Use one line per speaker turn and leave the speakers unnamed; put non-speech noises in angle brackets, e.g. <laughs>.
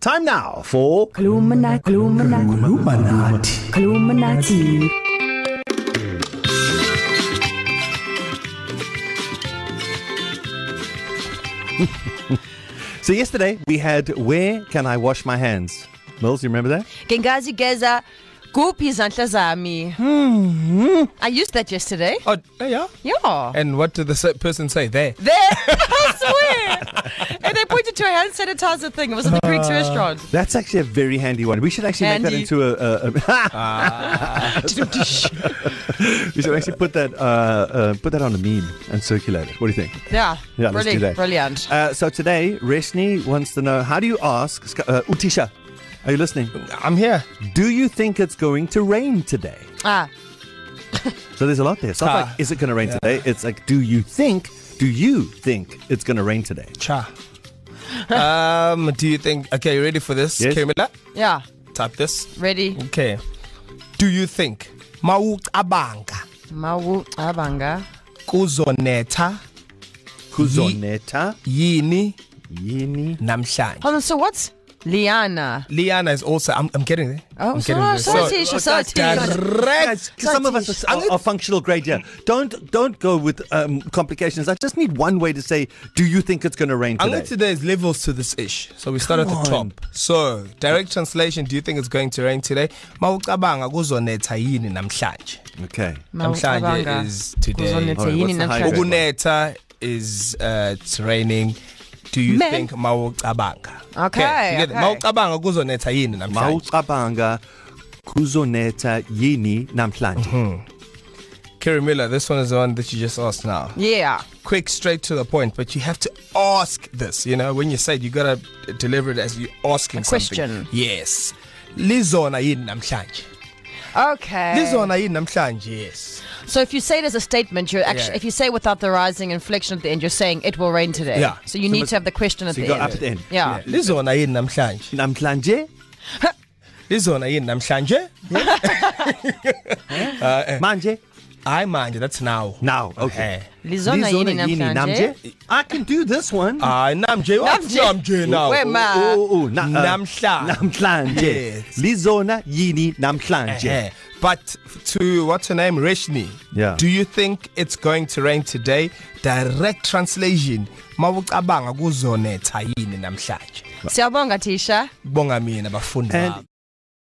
Time now for
Kolumna, Kolumna,
Illuminati.
Kolumnati.
So yesterday we had Where Can I Wash My Hands? Mills, you remember that?
ngingazi geza kuphi izandla zami i used that yesterday
Oh, yeah.
yeah
And what did the se- person say there?
there <laughs> i swear and they pointed to a hand sanitizer thing it was at the greek restaurant
That's actually a very handy one. We should actually
Handy.
make that into a. a, a <laughs> we should actually put that uh, uh, put that on a meme and circulate it. What do you think?
<laughs> yeah
Yeah, let's do
brilliant
that.
brilliant
Uh, so today, Reshni wants to know how do you ask Sc- uh, Utisha? Are you listening?
I'm here.
Do you think it's going to rain today?
ah
So there's a lot there. It's not
Ah.
like is it going to rain today? It's like do you think? Do you think it's going to rain today?
Cha. um, do you think? Okay, you ready for this,
Yes.
Camilla?
yeah
Type this.
ready
Okay. Do you think? Mawucabanga
mawucabanga
kuzonetha
Kuzoneta
yini
yini.
namhlanje.
hold on so what's liana
Liana is also. I'm, I'm getting there.
Oh,
I'm
so-
there.
so Tisha, so Tisha.
Guys,
direct.
some of us are, are, are functional grade here. Don't don't go with um, complications. I just need one way to say, do you think it's going to rain
I
today?
think there's levels to this ish. So we start at the
Come on.
top. So, direct translation, do you think it's going to rain today? Mawucabanga kuzonetha yini namhlanje?
Okay.
Namhlanje
Mawucabanga.
is today.
Kuzonetha
Alright,
yini
what's the
namhlanje?
hybrid?
Uguneta is uh, it's raining. Do you
Man.
think mawucabanga?
Okay, okay.
Mawucabanga kuzonetha yini namhlanje?
Mawucabanga kuzoneta yini namhlanje.
Kerry Miller, this one is the one that you just asked now.
yeah
Quick, straight to the point, but you have to ask this. You know, when you say it, you gotta deliver it as you asking
A
Something.
question.
Yes. Lizona yini namhlanje?
okay
Lizona yini namhlanje? Yes.
so if you say it as a statement you're actually
Yeah.
if you say it without the rising inflection at the end you're saying it will rain today
Yeah.
so you
So
need
must-
to have the question at
So you
the
go
end
up at the end.
yeah
Lizona yini namhlanje?
Namhlanje?
Lizona yini namhlanje? Eh.
Manje?
I mind that's now.
Now. Okay.
Eh.
Lizona yini namhlanje?
I can do this one.
Ah, namje, what's namje now?
Where ma?
oh, oh, na, uh,
Namhla.
Namhlanje.
Yes. Eh,
Lizona yini
Yeah.
namhlanje.
But to what's her name, Reshni?
Yeah.
Do you think it's going to rain today? Direct translation. Mawucabanga kuzonetha yini namhlanje?
Siyabonga Tisha.
Bonga mina bafundi
And
bami.